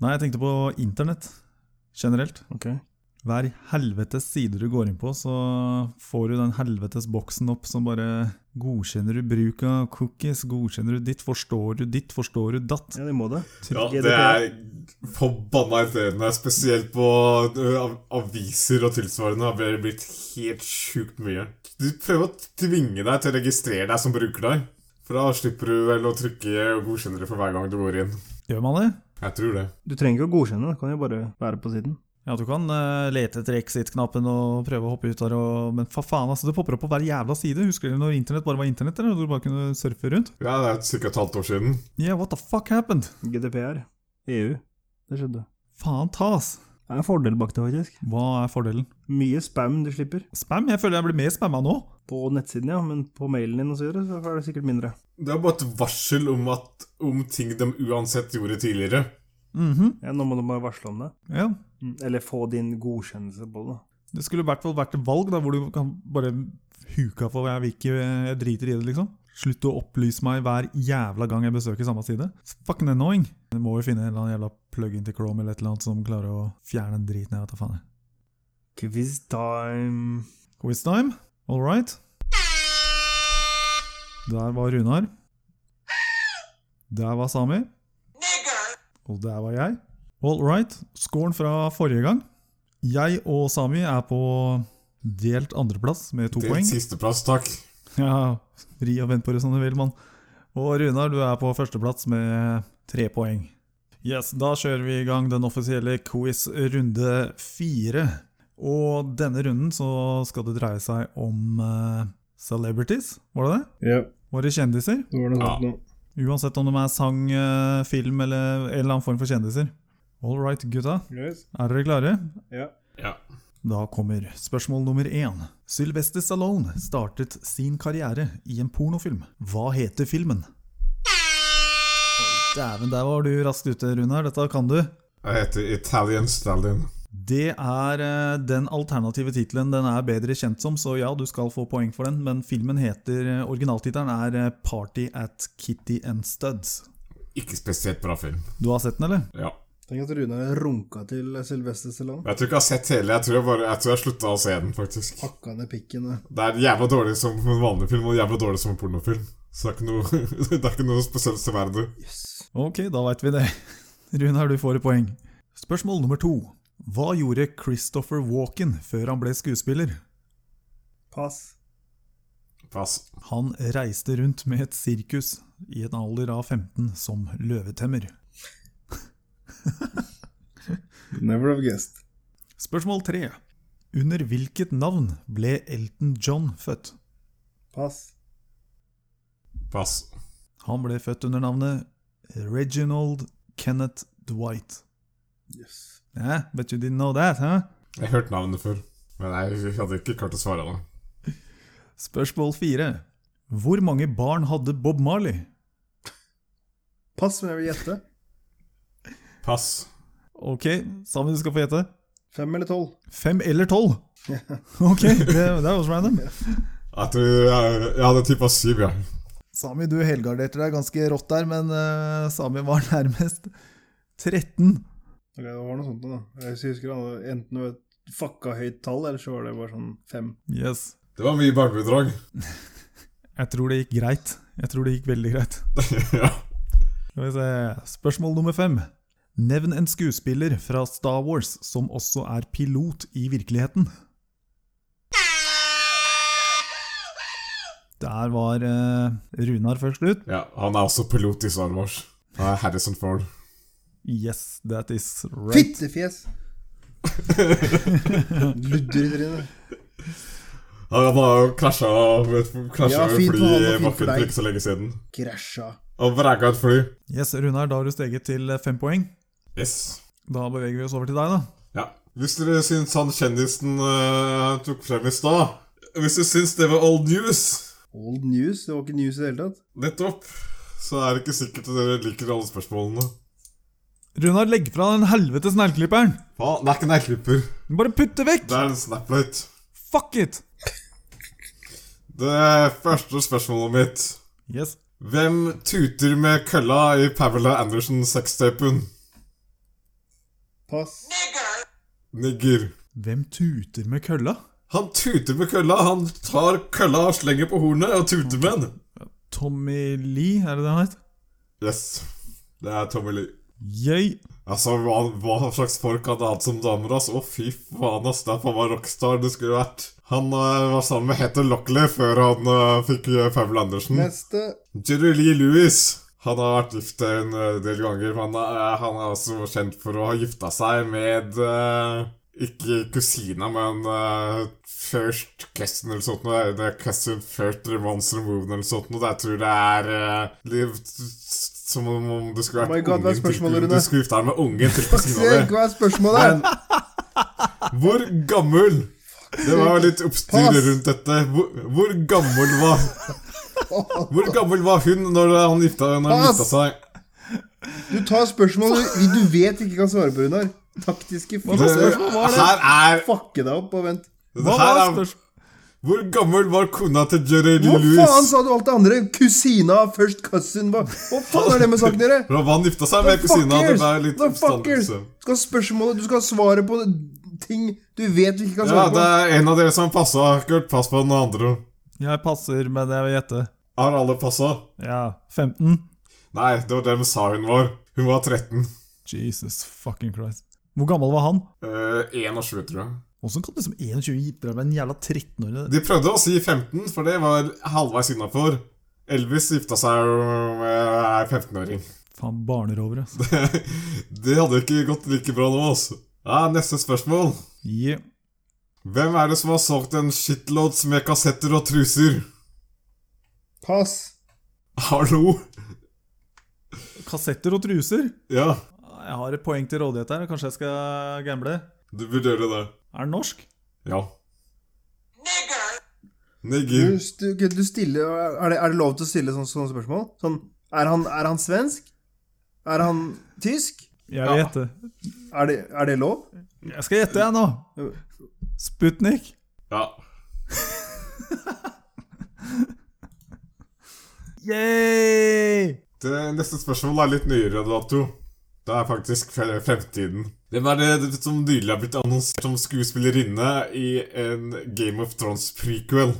S2: Nei, jeg tenkte på internett generelt.
S7: Ok.
S2: Hver helvetes side du går inn på, så får du den helvetes boksen opp som bare Godkjenner du bruk av cookies? Godkjenner du ditt? Forstår du ditt? Forstår du datt?
S7: Ja, de må det.
S5: Ja,
S7: GDPR.
S5: det er forbanna irriterende. Spesielt på ø, av- aviser og tilsvarende har det blitt helt sjukt mye. Du prøver å tvinge deg til å registrere deg som bruker deg. For da slipper du vel å trykke og godkjenne det for hver gang du går inn.
S2: Gjør man det?
S5: Jeg tror det.
S7: Du trenger ikke å godkjenne, det kan jo bare være på siden.
S2: Ja, du kan eh, lete etter exit-knappen og prøve å hoppe ut der, og, men fa faen, altså, det popper opp på hver jævla side. Husker dere når internett bare var internett, eller? Og du bare kunne surfe rundt?
S5: Ja, det er ca. et halvt år siden.
S2: Yeah, what the fuck happened?
S7: GDPR. EU. E Det skjedde.
S2: Faen tas!
S7: Det er en fordel bak det, faktisk.
S2: Hva er fordelen?
S7: Mye spam du slipper.
S2: Spam? Jeg føler jeg blir mer spamma nå.
S7: På nettsiden, ja, men på mailen din og så videre, så er det sikkert mindre.
S5: Det er bare et varsel om, at, om ting de uansett gjorde tidligere.
S2: Mhm,
S7: Ja, nå må du bare varsle om det. Mm,
S2: ja.
S7: Eller få din godkjennelse på det.
S2: Det skulle i hvert fall vært et valg, da, hvor du kan bare huka for jeg vil ikke, jeg driter i det, liksom. Slutt å opplyse meg hver jævla gang jeg besøker samme side. It's fucking annoying. Jeg må jo finne en eller annen jævla plug-in til Chrome eller et eller annet som klarer å fjerne den driten jeg vet da faen. jeg.
S7: Quiz time.
S2: Quiz time. All right. Der var Runar. Der var Sami. Og der var jeg. All right. Scoren fra forrige gang. Jeg og Sami er på delt andreplass med to
S5: Til
S2: poeng.
S5: sisteplass, takk.
S2: Ja, Ri og vent på det som du vil, mann. Og Runar, du er på førsteplass med tre poeng. Yes, da kjører vi i gang den offisielle quiz runde fire. Og denne runden så skal det dreie seg om eh, celebrities, var det det?
S7: Ja,
S2: Var det kjendiser?
S7: det var noe sånt nå.
S2: Uansett om de er sang, eh, film eller en eller annen form for kjendiser. All right, gutta.
S7: Yes.
S2: Er dere klare?
S7: Ja.
S5: Ja.
S2: Da kommer spørsmål nummer én. Sylvester Stallone startet sin karriere i en pornofilm. Hva heter filmen? Oi, Dæven, der var du raskt ute, Runar. Dette kan du.
S5: Jeg heter Italian Stalin.
S2: Det er eh, den alternative tittelen den er bedre kjent som, så ja, du skal få poeng for den, men filmen heter eh, Originaltittelen er eh, Party at Kitty and Studs.
S5: Ikke spesielt bra film.
S2: Du har sett den, eller?
S5: Ja.
S7: Tenk at Rune runka til Sylvester Stallone.
S5: Jeg tror ikke jeg har sett hele. Jeg tror jeg, bare, jeg, tror jeg slutta å se den, faktisk.
S7: Hakka ned pikken. ja.
S5: Det er jævla dårlig som en vanlig film, og jævla dårlig som en pornofilm. Så det er ikke noe, det er ikke noe spesielt severdig.
S2: Ok, da veit vi det. Runar, du får et poeng. Spørsmål nummer to. Hva gjorde Christopher Walken før han ble skuespiller?
S7: Pass.
S5: Pass.
S2: Han reiste rundt med et sirkus i en alder av 15 som løvetemmer.
S7: Never have guessed.
S2: Spørsmål tre. Under hvilket navn ble Elton John født?
S7: Pass.
S5: Pass.
S2: Han ble født under navnet Reginald Kenneth Dwight.
S7: Yes.
S2: Yeah, bet you didn't know that, huh?
S5: Jeg har hørt navnet før, men jeg hadde ikke klart å svare det.
S2: Spørsmål fire. Hvor mange barn hadde Bob Marley?
S7: Pass, men jeg vil gjette.
S5: Pass.
S2: Ok, sammen du skal få gjette.
S7: Fem eller tolv?
S2: Fem eller tolv? Ok, det, det er også random.
S5: Jeg tror jeg, jeg hadde tippa syv, ja.
S2: Sami, du helgarderte deg ganske rått der, men eh, Sami var nærmest 13.
S7: Ok, det var noe sånt da. Jeg husker han hadde enten var et fucka høyt tall, eller så var det bare sånn fem.
S2: Yes.
S5: Det var mye bakbedrag.
S2: Jeg tror det gikk greit. Jeg tror det gikk veldig greit.
S5: ja.
S2: Skal vi se. Spørsmål nummer fem. Nevn en skuespiller fra Star Wars som også er pilot i virkeligheten. Der var eh, Runar først ut.
S5: ja. Han er også pilot i Star Wars. Han er Harrison Ford.
S2: Yes, that is right.
S7: Fittefjes! Ludder i trynet.
S5: Han har jo krasja med et krasja
S7: Ja,
S5: med
S7: fint
S5: fly
S7: for han, og
S5: i
S7: fint for
S5: bakken for
S7: deg.
S5: ikke så lenge siden.
S7: Krasja.
S5: Og vragga et fly.
S2: Yes, Runar, da har du steget til eh, fem poeng.
S5: Yes.
S2: Da beveger vi oss over til deg, da.
S5: Ja. Hvis dere syns han kjendisen eh, tok frem i stad Hvis du syns det var old news,
S7: Old news? Det var ikke news i det hele tatt.
S5: nettopp, så er det ikke sikkert at dere liker alle spørsmålene.
S2: Runar, legg fra den helvetes negleklipperen!
S5: Faen, det er ikke en neglklipper.
S2: Bare putt det vekk!
S5: Det er en snaplight.
S2: Fuck it!
S5: Det første spørsmålet mitt
S2: Yes.
S5: Hvem tuter med kølla i Pamela Anderson-sextapen?
S7: Pass.
S5: Nigger.
S2: Hvem tuter med kølla?
S5: Han tuter med kølla. Han tar kølla og slenger på hornet og tuter med den.
S2: Tommy Lee, er det det han het?
S5: Yes. Det er Tommy Lee.
S2: Yay.
S5: Altså, hva, hva slags folk han hadde som damer, ass? Å, fy faen, ass. Det er faen meg rockstar det skulle vært. Han eh, var sammen med Heather Lockley før han eh, fikk uh, Pamela Andersen.
S7: Neste.
S5: Jerry Lee Lewis. Han har vært gift en eh, del ganger, men han er, han er også kjent for å ha gifta seg med eh, Ikke kusina, men eh, first cousin eller sånt noe. Det er cousin first romance removed eller sånt noe. Jeg tror det er eh, liv som om om du skulle
S7: Oh my
S5: vært
S7: God, hva er
S5: ungen til
S7: spørsmålet,
S5: ungen. Du
S7: Rune?
S5: skulle gifta deg med ungen til kusina di.
S7: hva er spørsmålet?
S5: Hvor gammel? Det var litt oppstyr
S7: Pass.
S5: rundt dette. Hvor, hvor gammel var Hvor gammel var hun når han gifta, når han
S7: Pass.
S5: gifta seg?
S7: Du tar spørsmålet du- du vet ikke kan svare på, Runar. Taktiske
S5: Det,
S7: fitte.
S5: her er,
S7: Fucke deg opp og vent.
S5: det
S2: Hva
S5: her
S2: var
S5: er
S2: spørsmålet?
S5: Hvor gammel var kona til Jerry Lee
S7: Hva faen
S5: Lewis?
S7: sa du alt det andre? Kusina, first cousin Hva hva faen er det med saken dere?
S5: Da han gifta seg med
S7: The
S5: kusina.
S7: fuckers!
S5: Det ble litt sånn, liksom.
S7: The fuckers!
S5: oppstandelse.
S7: Du skal ha spørsmålet, du skal ha svaret på ting du vet du ikke kan
S5: Ja,
S7: svare
S5: det
S7: på.
S5: er en av dere som passa. Kurt, pass på den andre.
S2: Jeg passer, men jeg vil gjette.
S5: Har alle passa?
S2: Ja, 15?
S5: Nei, det var dem sa hun var. Hun var 13.
S2: Jesus fucking Christ. Hvor gammel var han?
S5: Eh, 21, tror jeg.
S2: Hvordan kan du som 21 gifte deg med en jævla 13-åring?
S5: De prøvde å si 15, for det var halvveis innafor. Elvis gifta seg jo med ei 15-åring.
S2: Faen, barnerover, ass.
S5: Det hadde ikke gått like bra nå, altså. Ja, neste spørsmål.
S2: Yeah.
S5: Hvem er det som har solgt en shitloads med kassetter og truser?
S7: Pass.
S5: Hallo?
S2: Kassetter og truser?
S5: Ja,
S2: Jeg har et poeng til rådighet her, kanskje jeg skal gamble?
S5: du burde gjøre det.
S2: Er den norsk?
S5: Ja.
S7: Du,
S5: Nigger.
S7: st- ok, du stiller, er, det, er det lov til å stille sånne, sånne spørsmål? Sånn, er han, er han svensk? Er han tysk?
S2: Jeg vil
S5: Ja.
S2: gjette.
S7: Er det, er det lov?
S2: Jeg skal gjette, jeg, nå. Sputnik.
S5: Ja.
S2: Yay!
S5: Det neste spørsmål er litt nyere dato. Det er faktisk fre- fremtiden. Hvem er det som nylig har blitt annonsert som skuespillerinne i en Game of Thrones-prequel?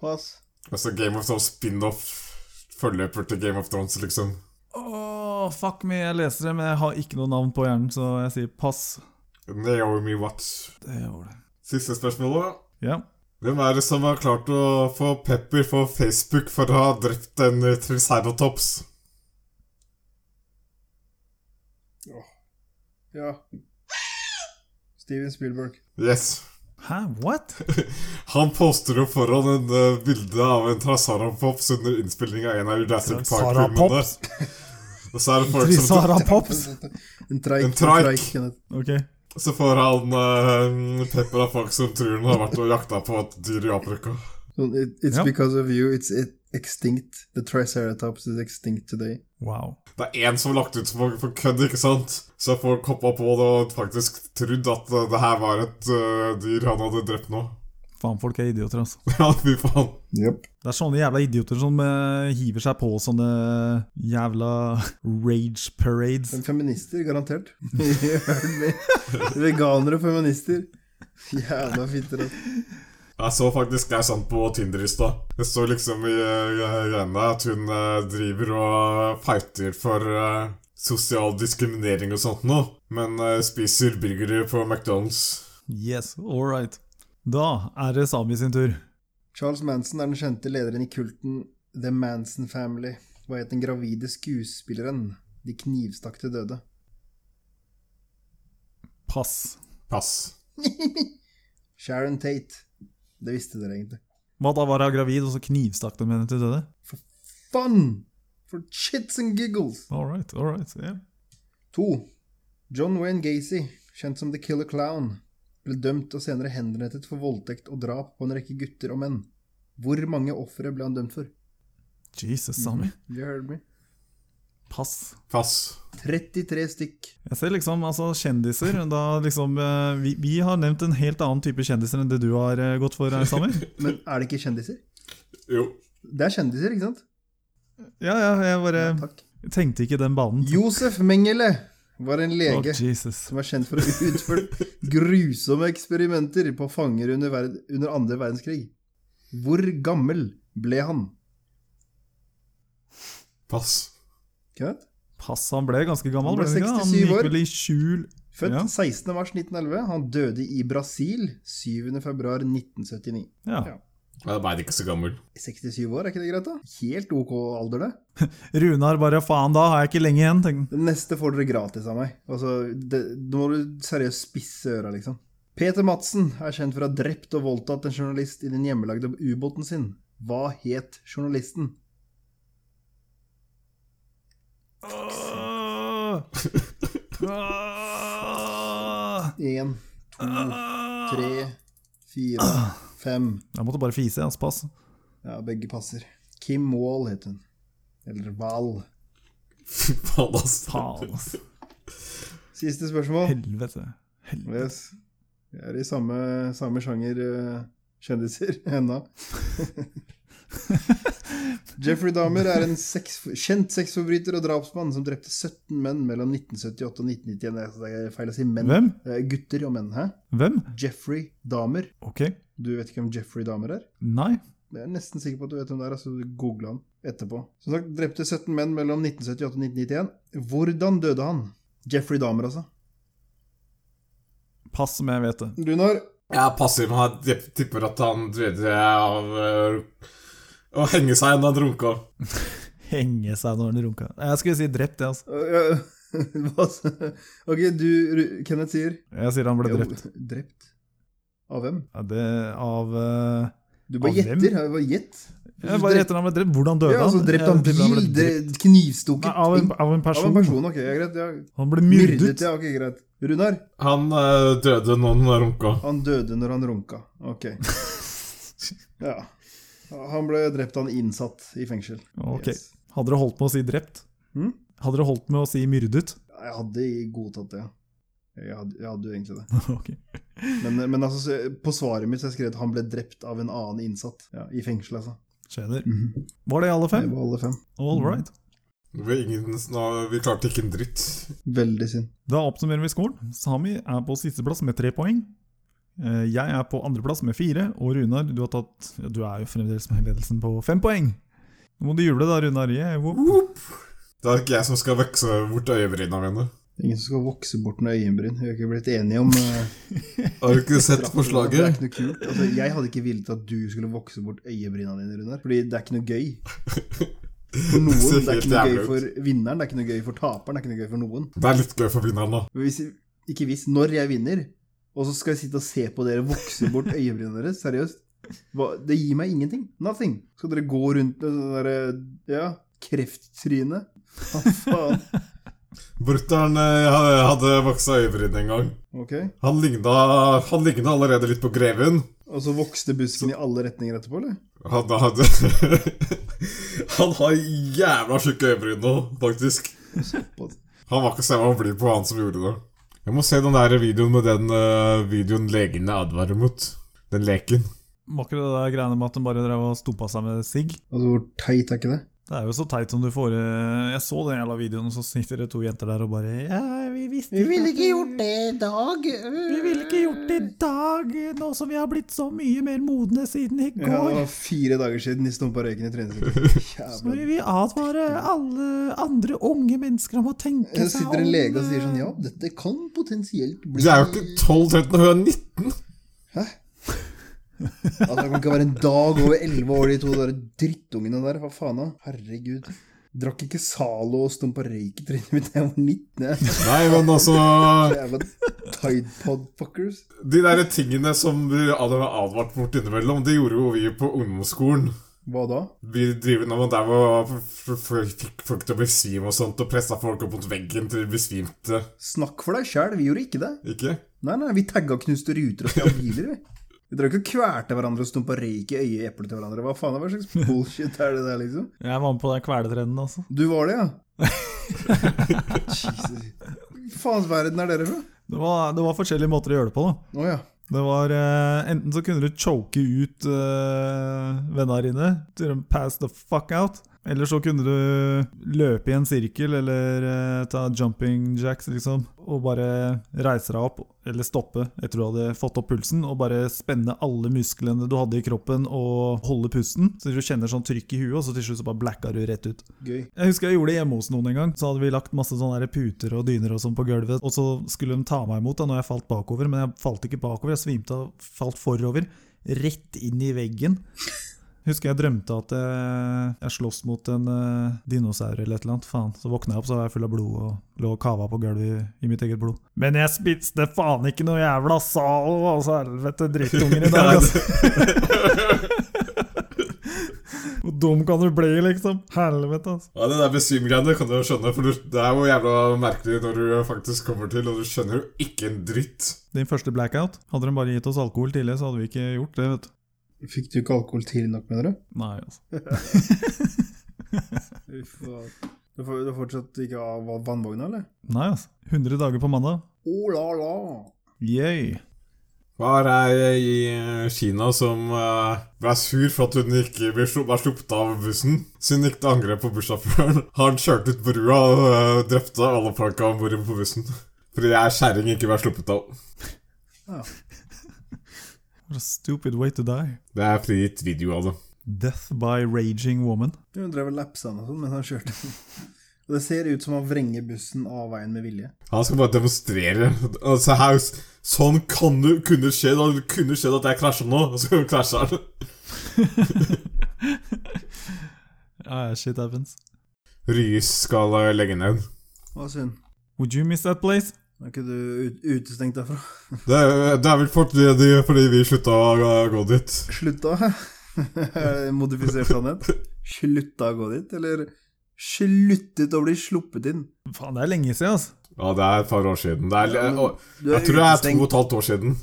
S7: Pass.
S5: Altså Game of Thrones spin-off Forløper til Game of Thrones liksom
S2: Åh, fuck me, jeg leser det, men jeg har ikke noe navn på hjernen, så jeg sier pass.
S5: Naomi Watts
S2: Det var det.
S5: Siste spørsmål da
S2: Ja.
S5: Hvem er det som har klart å få pepper på Facebook For å ha drept en eh, triceratops?
S7: Ja. Steven Spielberg.
S5: Yes
S2: Hæ, what?
S5: Han poster opp foran en eh, bilde av en Trasarapops under innspilling av en av Jurassic Park-filmene.
S2: Sarapops?
S5: Og så er det folk som
S2: Trisara Pops?
S7: En treik.
S5: En treik.
S7: Kenneth.
S2: Ok.
S5: Så får han eh, pepper av folk som tror han har vært og jakta på et dyr i Afrika.
S7: Sånn, it, it's
S2: Ja.
S7: because of you. It's it, extinct. The triceratops is extinct today.
S2: Wow.
S5: Det er én som har lagt ut for, for kødd, ikke sant? Så folk hoppa på det og faktisk trodd at eh, det her var et eh, dyr han hadde drept nå.
S2: Faen, folk er idioter, altså.
S5: Ja, fy faen.
S2: Det er sånne jævla idioter som eh, hiver seg på sånne jævla rage parades.
S7: Men feminister, garantert. Jeg har hørt med. Veganere og feminister. Jævla fitter. ass.
S5: Jeg så faktisk ei sånn på Tinder i stad. Det står liksom i eh, greiene at hun eh, driver og fighter for eh, sosial diskriminering og sånt nå, men eh, spiser burgere på McDonald's.
S2: Yes, all right. Da er det Sami sin tur.
S7: Charles Manson er den kjente lederen i kulten The Manson Family. Hva het den gravide skuespilleren de knivstakk til døde?
S2: Pass.
S5: Pass.
S7: Sharon Tate. Det visste dere egentlig.
S2: Hva da var hun gravid, og så knivstakk de henne til døde?
S7: Fun! For chits and giggles!
S2: All right, all right. Yeah.
S7: To. John Wayne Gacy, kjent som The Killer Clown, ble dømt og senere henrettet for voldtekt og drap på en rekke gutter og menn. Hvor mange ofre ble han dømt for?
S2: Jesus, Sami.
S7: You heard me.
S2: Pass.
S5: Pass.
S7: 33 stykk.
S2: Jeg ser liksom, altså kjendiser da liksom, eh, vi, vi har nevnt en helt annen type kjendiser enn det du har eh, gått for, eh, Sami.
S7: Men er det ikke kjendiser?
S5: Jo.
S7: Det er kjendiser, ikke sant?
S2: Ja, ja, jeg bare
S7: Takk.
S2: tenkte ikke den banen.
S7: Josef Mengele var en
S2: Å,
S7: lege
S2: Jesus.
S7: som var kjent for å ha utført grusomme eksperimenter på fanger under, verd under andre verdenskrig. Hvor gammel ble han?
S5: Pass.
S7: Kenneth?
S2: Pass, han ble ganske gammel.
S7: Han ble
S2: ikke det?
S7: 67
S2: Han
S7: år.
S2: gikk vel i skjul
S7: Født
S2: Ja.
S7: 16. mars 1911. Han døde i Brasil 7. februar 1979.
S2: ja.
S7: Ja.
S5: Jeg ble ikke så gammel.
S7: 67 år, er ikke det greit, da? Helt ok alder, det.
S2: Runar bare 'faen, da har jeg ikke lenge igjen'. Tenk.
S7: Den neste får dere gratis av meg. Altså, det, Nå må du seriøst spisse øra, liksom. Peter Madsen er kjent for å ha drept og voldtatt en journalist i den hjemmelagde ubåten sin. Hva het journalisten? Én, to, tre, fire, fem.
S2: Jeg måtte bare fise. Altså, pass.
S7: Ja, begge passer. Kim Wall het hun. Eller Wall.
S5: Fy faen, ass.
S2: Faen, altså.
S7: Siste spørsmål.
S2: Helvete. Helvete.
S7: Yes. Vi er i samme, samme sjanger eh, kjendiser ennå. Jeffrey Dahmer er en sex, kjent sexforbryter og drapsmann som drepte 17 menn mellom 1978 og 1991. Altså, Det er feil å si menn.
S2: Hvem?
S7: Eh, gutter og menn, hæ?
S2: Hvem?
S7: Jeffrey Dahmer.
S2: Ok.
S7: Du vet ikke hvem Jeffrey Dahmer er?
S2: Nei.
S7: Jeg er nesten sikker på at du vet hvem det er, altså google han etterpå. Som sagt, drepte 17 menn mellom 1978 og 1991. Hvordan døde han? Jeffrey Dahmer, altså.
S2: Pass som jeg vet det.
S7: Runar,
S5: Jeg passer, men jeg tipper at han døde av eh, å henge seg når han runka.
S2: Henge seg når den runka. Jeg skulle si drept, jeg, altså.
S7: Øh, Hva sa Ok, du, Ru- Kenneth sier
S2: Jeg sier han ble
S7: Jo,
S2: drept.
S7: drept? Av hvem?
S2: Ja, det av eh,
S7: Du bare
S2: Av hvem?
S7: gjetter. Jeg bare gjett.
S2: Jeg bare gjetter han ble drept. Hvordan døde
S7: Ja, altså,
S2: han? Jeg
S7: drept av
S2: tipper han
S7: bil,
S2: ble drept.
S7: drept, knivstukket
S2: Nei, av, en,
S7: ting.
S2: av en
S7: Av
S2: person.
S7: en person, ok, ja, greit. Ja.
S2: Han ble
S7: Myrdet,
S2: myrdet.
S7: ja, ok, greit. Runar,
S5: Han eh, døde når han runka.
S7: han døde når han runka. Ok. Ja. Han ble drept av en innsatt i fengsel.
S2: Ok.
S7: Yes.
S2: Hadde dere holdt med å si drept?
S7: Hm?
S2: Hadde dere holdt med å si myrdet?
S7: Jeg hadde godtatt det, ja. Jeg hadde, jeg hadde jo egentlig det.
S2: Ok.
S7: Men, men altså, så- på svaret mitt så har jeg skrevet at han ble drept av en annen innsatt. Ja, I fengsel, altså.
S2: Skjønner.
S7: Mhm.
S2: Var det alle
S7: Det
S2: fem?
S7: var alle fem.
S2: All right.
S5: Vi, ingen, nå- vi klarte ikke en dritt.
S7: Veldig synd.
S2: Da oppsummerer vi skolen. Sami er på sisteplass med tre poeng. Eh, Jeg er på andreplass med fire, og Runar, du har tatt ja, Du er jo fremdeles med ledelsen på fem poeng. Nå må du juble da, Runar. Yeah, whoop.
S5: Det er ikke jeg som skal vokse bort øyebrynene mine.
S7: Det er Ingen som skal vokse bort med øyenbryn. Vi har ikke blitt enige om eh,
S5: Har du ikke sett
S7: Det er
S5: forslaget?
S7: ikke noe kult. Altså, jeg hadde ikke villet at du skulle vokse bort øyebryna dine, Runar. Fordi det er ikke noe gøy. For noen.
S5: ser
S7: Det er
S5: helt
S7: ikke noe
S5: jævlig
S7: gøy
S5: ut.
S7: for vinneren, det er ikke noe gøy for taperen, det er ikke noe gøy for noen.
S5: Det er litt gøy for vinneren, da.
S7: Men Hvis, ikke hvis når jeg vinner, Og så skal jeg sitte og se på dere vokse bort øyebrynene deres? Seriøst? Hva? Det gir meg ingenting. Nothing. Skal dere gå rundt med sånn derre Ja, krefttryne? Hva faen?
S5: Brutter'n eh, hadde- hadde voksa øyebryn en gang.
S7: Ok.
S5: Han ligna, han ligna allerede litt på greven.
S7: Og så vokste busken i alle retninger etterpå, eller?
S5: Han hadde Han har jævla tjukke øyebryn nå, faktisk. Han var ikke så jævla blid på han som gjorde det. Jeg må se den der videoen med den eh, videoen legene advarer mot. Den leken.
S2: Var ikke det der greiene med at de bare drev og stumpa seg med sigg?
S7: Altså, hvor teit er ikke det?
S2: Det er jo så teit som du får eh, Jeg så den jævla videoen, og så sitter det to jenter der og bare Ja, vi visste
S7: Vi ville
S2: at
S7: ikke gjort det i dag.
S2: Vi ville ikke gjort det i dag, nå som vi har blitt så mye mer modne siden i
S7: Ja, det
S2: går.
S7: var fire dager siden de stumpa røyken i trynet sitt.
S2: Så vi
S7: Jævla
S2: vil advare alle andre unge mennesker om å tenke
S7: Her
S2: seg om
S7: sitter en lege og sier sånn Ja, dette kan potensielt bli
S5: Du er jo ikke 12-13, og hun er 19!
S7: Altså, det kan ikke være en dag over elleve år, de to der drittungene der. Hva faen da? Herregud. Drakk ikke Zalo og stumpa røyk i trynet mitt da jeg var 19. jeg.
S5: Nei, men altså
S7: Jævla Tide Pod fuckers.
S5: De der tingene som du hadde advart mot innimellom, det gjorde jo vi på ungdomsskolen.
S7: Hva da?
S5: Vi driver når man der var fikk folk til å besvime og sånt, og pressa folk opp mot veggen til de besvimte.
S7: Snakk for deg sjæl, vi gjorde ikke det.
S5: Ikke?
S7: Nei, nei, vi tagga og knuste ruter og stjal biler, vi. Vi drakk og kvelte hverandre og stumpa røyk i øyeeplet til hverandre. Hva faen hva slags bullshit er det der, liksom?
S2: Jeg var med på den kveletrenden, altså.
S7: Du var det, ja? Jesus. Hva faens verden er dere fra?
S2: Det var, det var forskjellige måter å gjøre det på, da.
S7: Å ja.
S2: Det var eh, Enten så kunne du choke ut eh, vennene dine, til de pass the fuck out. Eller så kunne du løpe i en sirkel, eller eh, ta jumping jacks, liksom. Og bare reise deg opp, eller stoppe etter du hadde fått opp pulsen. Og bare spenne alle musklene du hadde i kroppen, og holde pusten. Så du kjenner sånn trykk i huet, og så til slutt så bare blacka du rett ut.
S7: Gøy.
S2: Jeg husker jeg gjorde det hjemme hos noen en gang. Så hadde vi lagt masse sånne der puter og dyner og sånn på gulvet. Og så skulle de ta meg imot da når jeg falt bakover, men jeg falt ikke bakover. Jeg svimte og falt forover. Rett inn i veggen. Husker jeg drømte at jeg, jeg sloss mot en eh, dinosaur eller et eller annet. Faen. Så våkna jeg opp, så var jeg full av blod og lå og kava på gulvet i, i mitt eget blod. Men jeg spiste faen ikke noe jævla Zalo, altså helvete drittunger i dag, altså. Hvor dum kan du bli, liksom? Helvete, altså.
S5: Ja, Det der besvimgreiene kan du jo skjønne, for du- det er jo jævla merkelig når du faktisk kommer til, og du skjønner jo ikke en dritt.
S2: Din første blackout. Hadde de bare gitt oss alkohol tidligere, så hadde vi ikke gjort det. vet du.
S7: Fikk du ikke alkohol tidlig nok, mener du?
S2: Nei, altså.
S7: Uff, hva- Du får- du har fortsatt ikke av av vannvogna, eller?
S2: Nei, altså. 100 dager på mandag.
S7: Oh la la!
S2: Yay.
S5: Hva er ei i eh, Kina som eh, ble sur for at hun ikke ble slu- ble sluppet av bussen? Siden hun ikke angret på bussjåføren. Han kjørte ut brua og eh, drepte alle folka om bord på bussen. Fordi jeg er kjerring ikke ble sluppet av.
S2: What a stupid way to die.
S5: Det er frigitt video av det.
S2: Death by raging woman.
S7: Hun drev og lapsa han og sånn, men han kjørte. Og det ser ut som han vrenger bussen av veien med vilje.
S5: Han skal bare demonstrere. Altså, her, sånn kan du, kunne skje. Det kunne skjedd at jeg krasja nå, og så krasja han.
S2: Ah, shit happens.
S5: Ryes skal eh, legge ned.
S7: Hva synd.
S2: Would you miss that place?
S7: Er ikke du ut utestengt derfra?
S5: Det, det er vel fordi, de- fordi vi slutta å gå dit.
S7: Slutta? Modifisert sannhet? Slutta å gå dit, eller sluttet å bli sluppet inn?
S2: Faen, det er lenge siden, altså.
S5: Ja, det er et par år siden. Det er,
S7: Ja, men Du
S5: jeg tror det er to og et halvt år siden.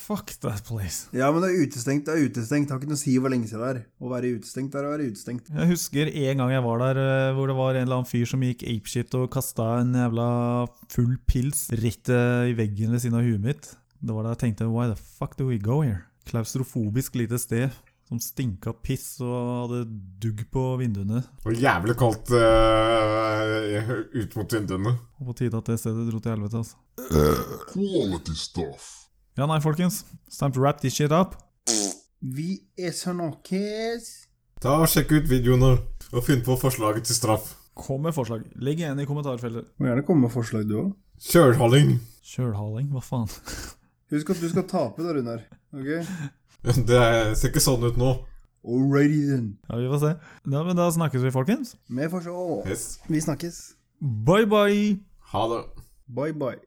S2: Fuck that place.
S7: Ja, men det er utestengt. Det er utestengt. Det har ikke noe å si hvor lenge siden det er. Å være utestengt er å være utestengt.
S2: Jeg husker en gang jeg var der eh, hvor det var en eller annen fyr som gikk apeshit og kasta en jævla full pils rett eh, i veggen ved siden av huet mitt. Det var da jeg tenkte why the fuck do we go here? Klaustrofobisk lite sted som stinka piss og hadde dugg på vinduene.
S5: Og jævlig kaldt eh, ut mot vinduene.
S2: Og på tide at det stedet dro til helvete, altså. Ja, nei, folkens. It's time to wrap this shit up.
S7: Vi er sånn, sanokes.
S5: Ta og Sjekk ut videoene og finn på forslaget til straff.
S2: Kom med forslag. Legg igjen i kommentarfeltet.
S7: Må gjerne komme med forslag, du òg.
S5: Kjølhaling.
S2: Kjølhaling, hva faen?
S7: Husk at du skal tape da, Runar. Ok?
S5: Det ser ikke sånn ut nå.
S7: Alrighty then.
S2: Ja, vi får se. Ja, men da snakkes vi, folkens.
S7: Vi får se.
S5: Yes.
S7: Vi snakkes.
S2: Bye bye!
S5: Ha det.
S7: Bye bye.